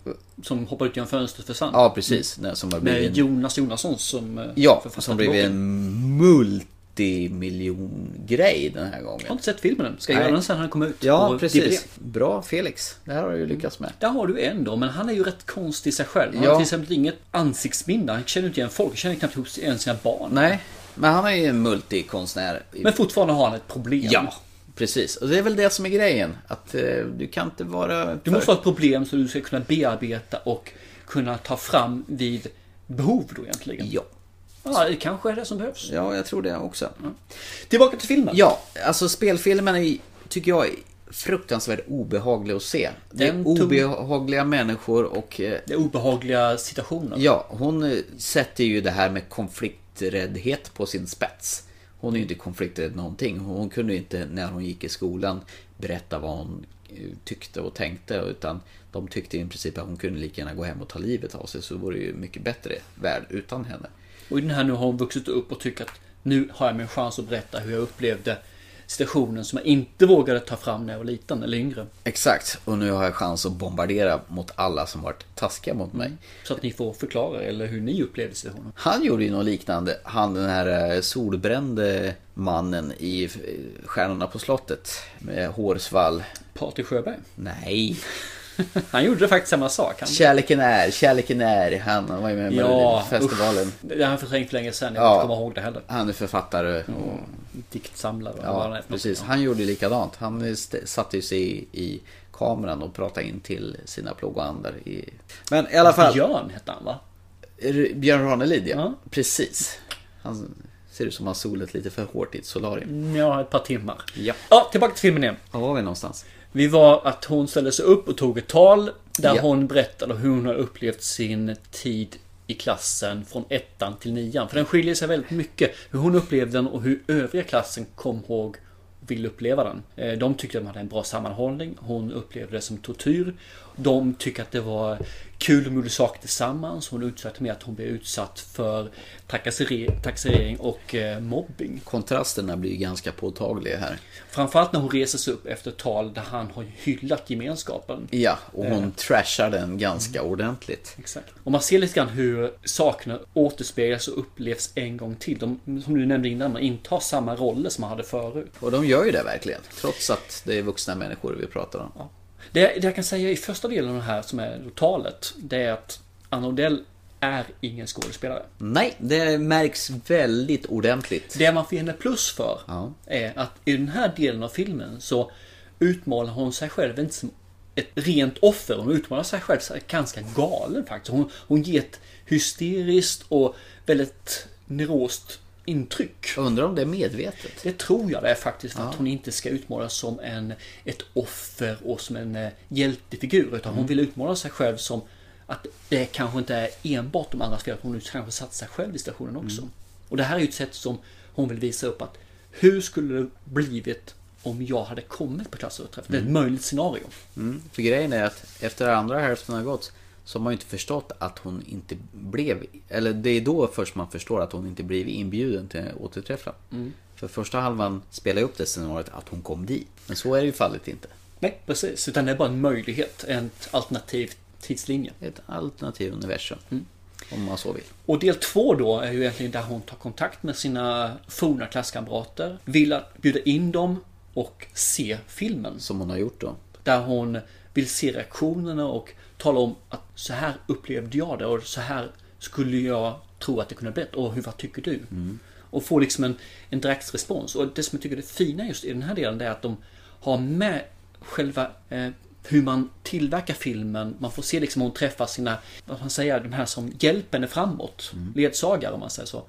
S2: som hoppar ut genom fönstret försvann.
S1: Ja, precis. Nej, som har blivit en-
S2: Med Jonas Jonasson som eh,
S1: Ja,
S2: författare
S1: som
S2: till
S1: blivit
S2: boken.
S1: en multimiljon grej den här gången.
S2: Jag har inte sett filmen än. Ska jag
S1: Nej.
S2: göra den sen när den kommer ut?
S1: Ja,
S2: på
S1: precis.
S2: DVD?
S1: Bra Felix. Det här har du ju lyckats med.
S2: Där har du en då, men han är ju rätt konstig i sig själv. Han
S1: Ja.
S2: har till exempel inget ansiktsminne. Han känner inte igen folk. Han känner knappt ihop ens sina barn.
S1: Nej, men han är ju en multikonstnär.
S2: Men fortfarande har han ett problem.
S1: Ja, precis. Och det är väl det som är grejen. Att eh, du kan inte vara...
S2: Du måste ha ett problem som du ska kunna bearbeta och kunna ta fram vid behov då egentligen.
S1: Ja.
S2: Ja, det kanske är det som behövs.
S1: Ja, jag tror det också.
S2: Tillbaka till filmen.
S1: Mm. Ja, alltså spelfilmen är, tycker jag är fruktansvärt obehaglig att se. Det är
S2: Den tum-
S1: obehagliga människor och... eh,
S2: Det är obehagliga situationer.
S1: Ja, hon eh, sätter ju det här med konflikträddhet på sin spets. Hon är ju inte konflikträdd någonting. Hon kunde ju inte när hon gick i skolan berätta vad hon eh, tyckte och tänkte. Utan de tyckte i princip att hon kunde lika gärna gå hem och ta livet av sig. Så vore det ju mycket bättre värld utan henne.
S2: Och i den här nu har hon vuxit upp och tycker att nu har jag min chans att berätta hur jag upplevde situationen som jag inte vågade ta fram när jag var liten eller yngre.
S1: Exakt, och nu har jag chans att bombardera mot alla som varit taskiga mot mig.
S2: Så att ni får förklara eller hur ni upplevde situationen.
S1: Han gjorde ju något liknande. Han den här eh, solbrände mannen i eh, Stjärnorna på slottet. Med hårsvall.
S2: Patrik Sjöberg.
S1: Nej.
S2: Han gjorde faktiskt samma sak. Han...
S1: Kärleken är, kärleken är. Han var ju med i
S2: Ja,
S1: Melodifestivalen.
S2: usch. Det har han förträngt för länge sedan. Jag
S1: Ja.
S2: ja. kommer ihåg det heller.
S1: Han är författare. Och,
S2: Mm, Diktsamlare. vad han är
S1: ja,
S2: för något.
S1: precis. Han gjorde ju likadant. Han eh, st- satte ju sig i, i kameran och pratade in till sina plågoandar. I... Men i alla fall.
S2: Björn hette han va?
S1: R- Björn Ranelid ja. Precis. Han ser ut som han solat lite för hårt i ett solarium.
S2: Ja, ett par timmar.
S1: Ja.
S2: Ja, tillbaka till filmen igen.
S1: Var var vi någonstans?
S2: Vi var att hon ställde sig upp och tog ett tal där
S1: Ja.
S2: hon berättade hur hon har upplevt sin tid i klassen från ettan till nian. För den skiljer sig väldigt mycket hur hon upplevde den och hur övriga klassen kom ihåg och ville uppleva den. Eh, De tyckte att de hade en bra sammanhållning. Hon upplevde det som tortyr. De tyckte att det var kul och gjorde saker tillsammans. Hon utsatte med att hon blev utsatt för trakasseri- trakassering och eh, mobbing.
S1: Kontrasterna blir ju ganska påtagliga här.
S2: Framförallt när hon reser sig upp efter ett tal där han har hyllat gemenskapen.
S1: Ja, och hon
S2: Eh.
S1: trashar den ganska ordentligt.
S2: Exakt. Och man ser lite grann hur sakerna återspeglas och upplevs en gång till. De, som du nämnde innan, man intar samma roller som man hade förut.
S1: Och de gör ju det verkligen. Trots att det är vuxna människor vi pratar om.
S2: Det, det jag kan säga i första delen av det här som är talet, det är att Anna Odell är ingen skådespelare.
S1: Nej, det märks väldigt ordentligt.
S2: Det man får ge henne plus för
S1: Ja.
S2: är att i den här delen av filmen så utmålar hon sig själv inte som ett rent offer. Hon utmålar sig själv som ganska galen faktiskt. Hon, hon ger ett hysteriskt och väldigt neurost intryck.
S1: Undrar om det är medvetet.
S2: Det tror jag det är faktiskt för att hon inte ska utmålas som en, ett offer och som en eh, hjältefigur. Utan hon vill utmåla sig själv som att det kanske inte är enbart de andras fel. att Hon kanske satt sig själv i stationen också. Och det här är ju ett sätt som hon vill visa upp att hur skulle det blivit om jag hade kommit på klassöverträff? Det är ett möjligt scenario.
S1: Mm. För grejen är att efter andra hälften har gått så har man ju inte förstått att hon inte blev... Eller det är då först man förstår att hon inte blev inbjuden till återträffen.
S2: Mm.
S1: För första halvan spelar ju upp det scenariot att hon kom dit. Men så är det ju fallet inte.
S2: Nej, precis. Utan det är bara en möjlighet, ett alternativ tidslinje.
S1: Ett alternativ universum.
S2: Mm.
S1: Om man så vill.
S2: Och del två då är ju egentligen där hon tar kontakt med sina forna klasskamrater. Vill att bjuda in dem och se filmen.
S1: Som hon har gjort då.
S2: Där hon vill se reaktionerna och tala om att så här upplevde jag det och så här skulle jag tro att det kunde ha blivit. Och hur, vad tycker du? Och få liksom en, en direkt respons. Och det som jag tycker är det fina just i den här delen det är att de har med själva eh, hur man tillverkar filmen. Man får se liksom hur hon träffar sina, vad ska man säga, de här som hjälper henne framåt. Ledsagare om man säger så.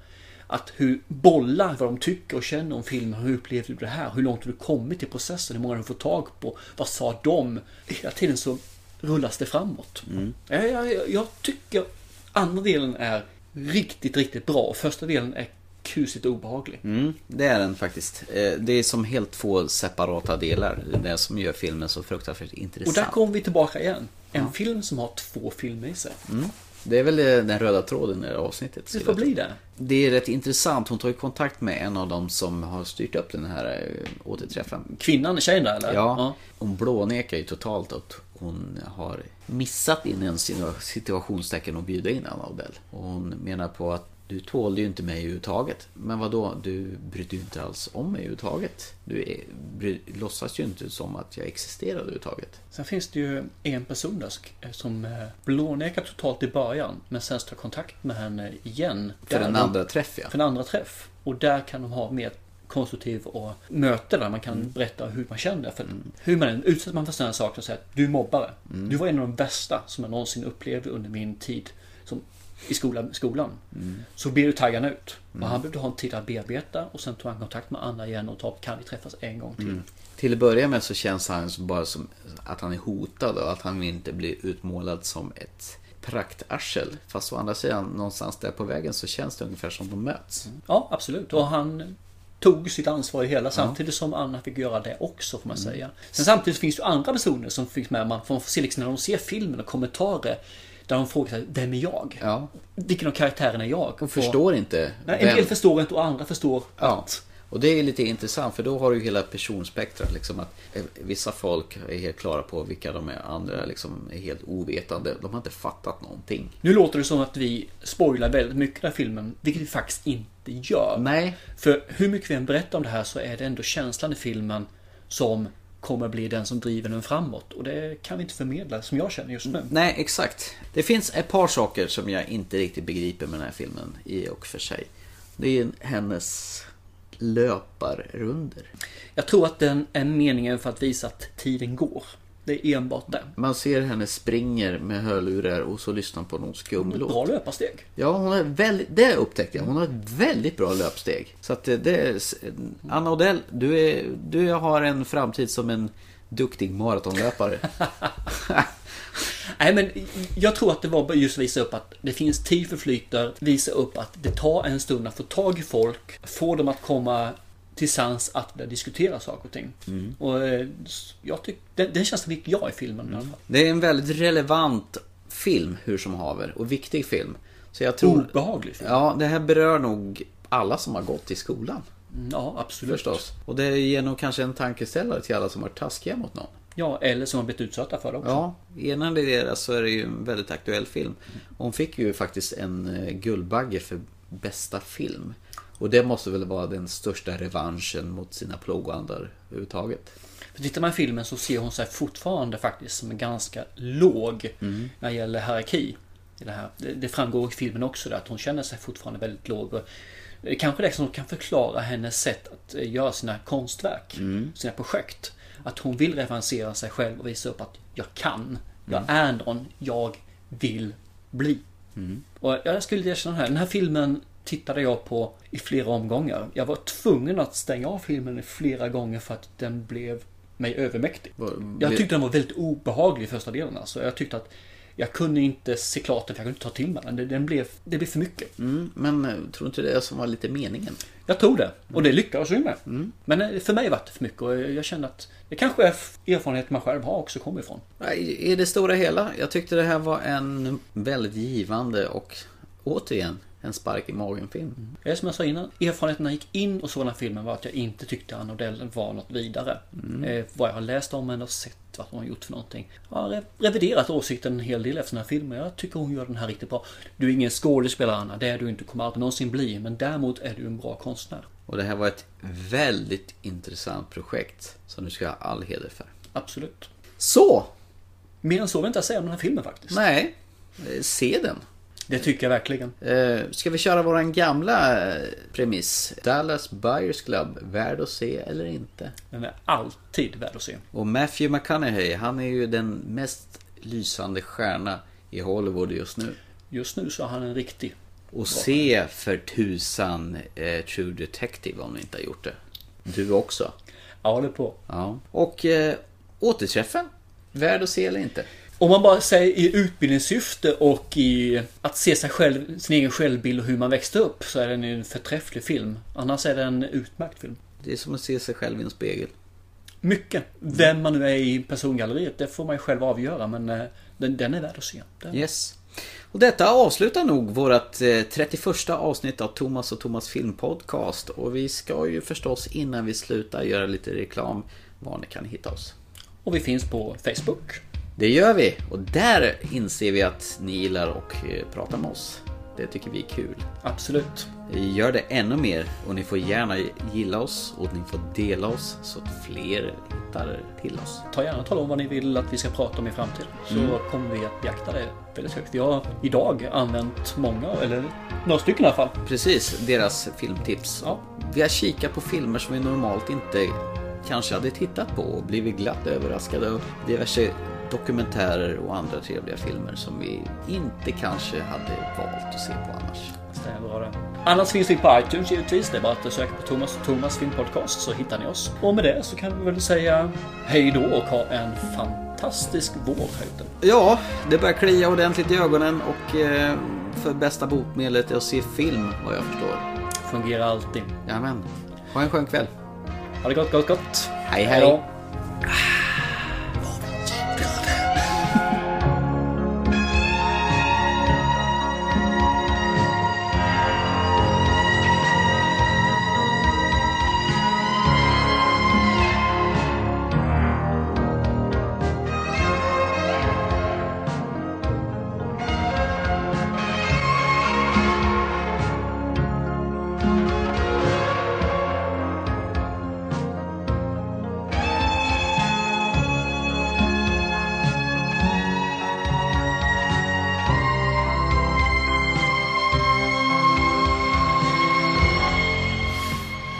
S2: Att hur bolla vad de tycker och känner om filmen. Hur upplevde du det här? Hur långt har du kommit i processen? Hur många har du fått tag på? Vad sa de? Hela tiden så rullas det framåt.
S1: Mm.
S2: Jag, jag, jag tycker andra delen är riktigt, riktigt bra. Första delen är kusligt obehaglig.
S1: Mm, det är den faktiskt. Eh, Det är som helt två separata delar. Det är det som gör filmen så fruktansvärt
S2: Och
S1: intressant.
S2: där kommer vi tillbaka igen. En film som har två filmer i sig.
S1: Mm. Det är väl eh, den röda tråden i det här avsnittet.
S2: Det
S1: skulle
S2: får
S1: jag
S2: bli
S1: tro.
S2: det.
S1: Det är rätt intressant. Hon tar ju kontakt med en av dem som har styrt upp den här eh, återträffen.
S2: Kvinnan, tjejen där eller?
S1: Ja. Hon blånekar ju totalt att hon har missat in en sina- situationstecken och bjuda in Anna Odell. Och hon menar på att du tålde ju inte mig överhuvudtaget. Men vad då? du brydde ju inte alls om mig överhuvudtaget. Du är, bry, låtsas ju inte som att jag existerar överhuvudtaget.
S2: Sen finns det ju en person där som- som eh, blånekar totalt i början men sen tar kontakt med henne igen.
S1: För
S2: Där
S1: en
S2: de-
S1: andra träff ja.
S2: För en andra träff. Och där kan de ha mer konstruktiv och möte där man kan
S1: Mm.
S2: berätta hur man känner. För hur man än utsätts man för sådana saker och säger att du är mobbare.
S1: Mm.
S2: Du var en av de värsta som jag någonsin upplevde under min tid som, i skolan, skolan.
S1: Mm.
S2: Så blir du taggad ut.
S1: Mm.
S2: Och han behövde ha en tid att bearbeta och sen tog han kontakt med Anna igen och sa kan vi träffas en gång till?
S1: Mm. Till att börja med så känns han som bara som att han är hotad och att han vill inte bli utmålad som ett praktarsel. Fast å andra sidan, någonstans där på vägen så känns det ungefär som de möts.
S2: Ja, absolut. Och han tog sitt ansvar i hela samtidigt som Anna fick göra det också får man
S1: Mm.
S2: säga. Sen samtidigt finns det ju andra personer som finns med. Man får se liksom när de ser filmen och kommentarer där de frågar sig, vem är jag?
S1: Ja.
S2: Vilken av karaktärerna är jag?
S1: Och förstår inte
S2: Nej, en
S1: vem-
S2: del förstår inte och andra förstår.
S1: Ja. Och det är lite intressant för då har du ju hela personspektrat. Liksom att eh, vissa folk är helt klara på vilka de är, andra liksom är helt ovetande. De har inte fattat någonting.
S2: Nu låter det som att vi spoilar väldigt mycket av filmen, vilket vi faktiskt inte gör.
S1: Nej.
S2: För hur mycket vi än berättar om det här så är det ändå känslan i filmen som kommer bli den som driver den framåt. Och det kan vi inte förmedla som jag känner just nu.
S1: Nej, exakt. Det finns ett par saker som jag inte riktigt begriper med den här filmen i och för sig. Det är hennes löparrunder.
S2: Jag tror att den är meningen för att visa att tiden går. Det är enbart det.
S1: Man ser henne springer med hörlurar och så lyssnar på någon skum låt.
S2: Bra löparsteg.
S1: Ja, hon har väldigt, det upptäckte jag. Hon har ett väldigt bra löpsteg. Så att det- det är, Anna Odell, du, är, du har en framtid som en duktig maratonlöpare.
S2: Nej men jag tror att det var just att visa upp att det finns tid förflyter, visa upp att det tar en stund att få tag i folk, få dem att komma till sans att börja diskutera saker och ting.
S1: Mm.
S2: Och eh, jag tycker, den, den känslan fick jag i filmen i alla fall.
S1: Det är en väldigt relevant film, hur som haver, och viktig film. Så jag tror...
S2: Obehaglig film.
S1: Ja, det här berör nog alla som har gått i skolan.
S2: Ja, absolut.
S1: Förstås. Och det ger nog kanske en tankeställare till alla som har varit taskiga mot någon.
S2: Ja, eller som har blivit utsatta för det också.
S1: Ja, innan det är det så är det ju en väldigt aktuell film. Hon fick ju faktiskt en eh, Guldbagge för bästa film. Och det måste väl vara den största revanschen mot sina plågoandar överhuvudtaget.
S2: För tittar man i filmen så ser hon sig fortfarande faktiskt som en ganska låg
S1: Mm.
S2: när det gäller hierarki. I det, här. Det, det framgår i filmen också där, att hon känner sig fortfarande väldigt låg. Och det är kanske det som kan förklara hennes sätt att eh, göra sina konstverk,
S1: Mm.
S2: sina projekt. Att hon vill referensera sig själv och visa upp att jag kan, jag är någon, jag vill bli.
S1: Mm.
S2: Och jag skulle erkänna det här, den här filmen tittade jag på i flera omgångar. Jag var tvungen att stänga av filmen flera gånger för att den blev mig övermäktig. Jag tyckte den var väldigt obehaglig i första delen alltså. Jag tyckte att jag kunde inte se klart den, för jag kunde inte ta till mig den. Det- Den blev, det blev för mycket.
S1: Mm, men eh, tror inte det som var lite meningen?
S2: Jag tror det. Och det lyckades ju med. Men eh, för mig var det för mycket och jag kände att det kanske är f- erfarenhet man själv har också kommer ifrån.
S1: Nej, I det stora hela, jag tyckte det här var en väldigt givande och återigen en spark i magen-film.
S2: Det är som jag sa innan, erfarenheten när jag gick in och såg den här filmen var att jag inte tyckte Anna Odell var något vidare.
S1: Mm.
S2: Eh, vad jag har läst om henne och sett vad hon har gjort för någonting. Jag har re- reviderat åsikten en hel del efter den här filmen. Jag tycker hon gör den här riktigt bra. Du är ingen skådespelare Anna, det är du inte, kommer aldrig någonsin bli. Men däremot är du en bra konstnär.
S1: Och det här var ett väldigt intressant projekt som du ska ha all heder för.
S2: Absolut.
S1: Så!
S2: Mer än så vill jag inte säga om den här filmen faktiskt.
S1: Nej, eh, se den.
S2: Det tycker jag verkligen.
S1: Eh, Ska vi köra våran gamla eh, premiss? Dallas Buyers Club, värd att se eller inte?
S2: Den är alltid värd att se.
S1: Och Matthew McConaughey, han är ju den mest lysande stjärna i Hollywood just nu.
S2: Just nu så har han en riktig
S1: Och se för tusan eh, True Detective om ni inte har gjort det. Du också.
S2: Jag håller på.
S1: Ja. Och eh, återträffen. Värd att se eller inte?
S2: Om man bara säger i utbildningssyfte och i att se sig själv, sin egen självbild och hur man växte upp så är den ju en förträfflig film. Annars är den en utmärkt film.
S1: Det är som att se sig själv i en spegel.
S2: Mycket. Vem man nu är i persongalleriet, det får man ju själv avgöra men eh, den, den är värd att se. Den.
S1: Yes. Och detta avslutar nog vårt eh, 31 avsnitt av Thomas och Thomas filmpodcast. Och vi ska ju förstås innan vi slutar göra lite reklam var ni kan hitta oss.
S2: Och vi finns på Facebook.
S1: Det gör vi och där inser vi att ni gillar och eh, pratar med oss. Det tycker vi är kul.
S2: Absolut.
S1: Gör det ännu mer och ni får gärna gilla oss och ni får dela oss så att fler hittar till oss.
S2: Ta gärna och tala om vad ni vill att vi ska prata om i framtiden. Så
S1: Mm.
S2: kommer vi att beakta det väldigt högt. Jag har idag använt många, eller några stycken i alla fall.
S1: Precis, deras filmtips. Vi har kikat på filmer som vi normalt inte kanske hade tittat på och blivit glatt överraskade av diverse dokumentärer och andra trevliga filmer som vi inte kanske hade valt att se på annars.
S2: Stämmer bra det. Annars finns vi på iTunes givetvis. Det är bara att söka på Thomas och Thomas filmpodcast så hittar ni oss. Och med det så kan vi väl säga hej då och ha en fantastisk vår här ute.
S1: Ja, det börjar klia ordentligt i ögonen och eh, för bästa botemedlet är att se film vad jag förstår.
S2: Fungerar alltid.
S1: Jajamän. Ha en skön kväll.
S2: Ha det gott, gott, gott.
S1: Hej, hej.
S2: då.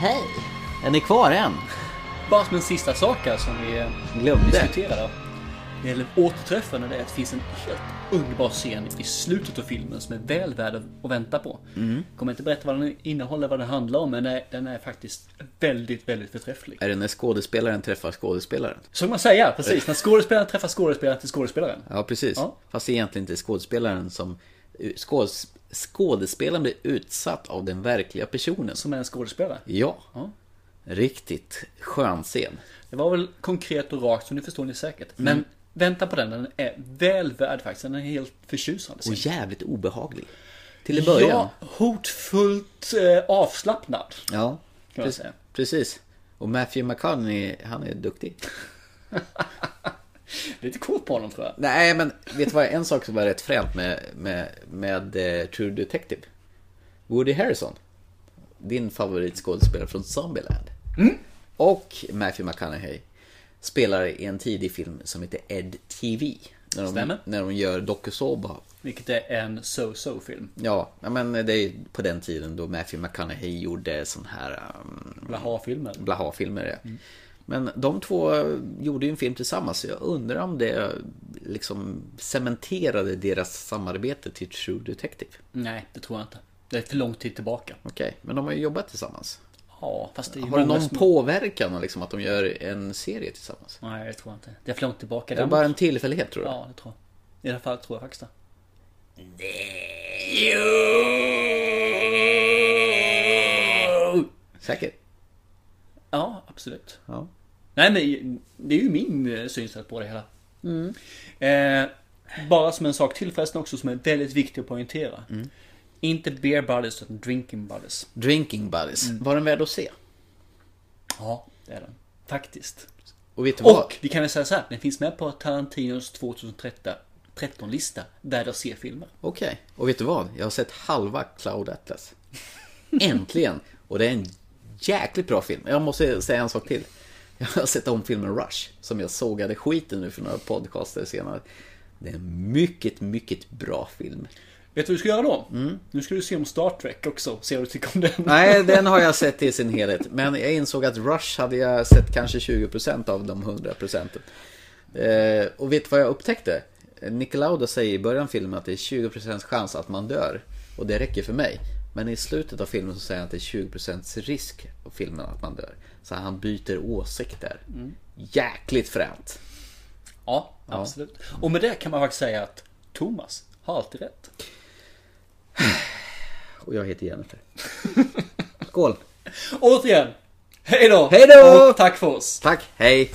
S1: Hej! Är ni kvar än?
S2: Bara som en sista sak här som vi eh,
S1: Glömde.
S2: diskuterade. Det gäller återträffen och det är att det finns en helt underbar scen i slutet av filmen som är väl värd att vänta på.
S1: Mm.
S2: Kommer inte berätta vad den innehåller, vad den handlar om, men den är- den är faktiskt väldigt, väldigt förträfflig.
S1: Är det när skådespelaren träffar skådespelaren?
S2: Så kan man säga, precis. När skådespelaren träffar skådespelaren till skådespelaren.
S1: Ja, precis.
S2: Ja.
S1: Fast det är egentligen inte skådespelaren som... Skådes, skådespelaren blir utsatt av den verkliga personen.
S2: Som är en skådespelare?
S1: Ja.
S2: Ja.
S1: Riktigt skön scen.
S2: Det var väl konkret och rakt, så nu förstår ni säkert. Men
S1: Mm.
S2: vänta på den, den är väl värd faktiskt. Den är helt förtjusande.
S1: Och jävligt obehaglig. Till i början.
S2: Ja, hotfullt eh, avslappnad.
S1: Ja,
S2: Kan man
S1: precis.
S2: säga.
S1: precis. Och Matthew McConaughey, han är duktig.
S2: Lite coolt på honom tror jag.
S1: Nej, men vet du vad? En sak som var rätt fränt med, med, med eh, True Detective. Woody Harrison. Din favoritskådespelare från Zombieland. Och Matthew McConaughey spelar i en tidig film som heter Ed TV. När de,
S2: Stämmer.
S1: när de gör dokusåpa.
S2: Vilket är en so-so film.
S1: Ja, ja, men det är på den tiden då Matthew McConaughey gjorde sån här... Um,
S2: Blaha-filmer.
S1: Blaha-filmer, ja.
S2: Mm.
S1: Men de två gjorde ju en film tillsammans. så Jag undrar om det liksom cementerade deras samarbete till True Detective.
S2: Nej, det tror jag inte. Det är för lång tid tillbaka.
S1: Okej, men de har ju jobbat tillsammans.
S2: Ja, fast det är ju
S1: Har det
S2: många
S1: någon
S2: som-
S1: påverkan liksom, att de gör en serie tillsammans?
S2: Nej, det tror jag inte. Det är för långt tillbaka.
S1: Är det bara en tillfällighet tror du?
S2: Ja, det tror jag. I alla fall tror jag faktiskt det.
S1: Säkert?
S2: Ja, absolut.
S1: Ja.
S2: Nej, men det är ju min eh, synsätt på det hela.
S1: Mm.
S2: Eh, bara som en sak till förresten också som är väldigt viktig att poängtera.
S1: Mm.
S2: Inte beer buddies utan drinking buddies.
S1: Drinking Buddies.
S2: Mm.
S1: Var den värd att se?
S2: Ja, det är den. Faktiskt.
S1: Och vet du vad?
S2: Och vi kan väl säga så här, den finns med på Tarantinos 2013-lista, värd att se-filmer.
S1: Okej, och vet du vad? Jag har sett halva Cloud Atlas. Äntligen! Och det är en jäkligt bra film. Jag måste säga en sak till. Jag har sett om filmen Rush, som jag sågade skiten nu för några podcaster senare. Det är en mycket, mycket bra film.
S2: Vet du vad du ska göra då?
S1: Mm.
S2: Nu ska du se om Star Trek också, se vad du tycker om den.
S1: Nej, den har jag sett i sin helhet. Men jag insåg att Rush hade jag sett kanske 20% av de 100 procenten. Eh, och vet du vad jag upptäckte? Nicke Lauda säger i början av filmen att det är 20% chans att man dör. Och det räcker för mig. Men i slutet av filmen så säger han att det är 20% risk av filmen att man dör. Så han byter åsikter.
S2: Mm.
S1: Jäkligt fränt.
S2: Ja, absolut. Och med det kan man faktiskt säga att Thomas har alltid rätt.
S1: Och jag heter Jennifer. Skål!
S2: Återigen, hej då!
S1: Hej då!
S2: Och tack för oss!
S1: Tack, hej!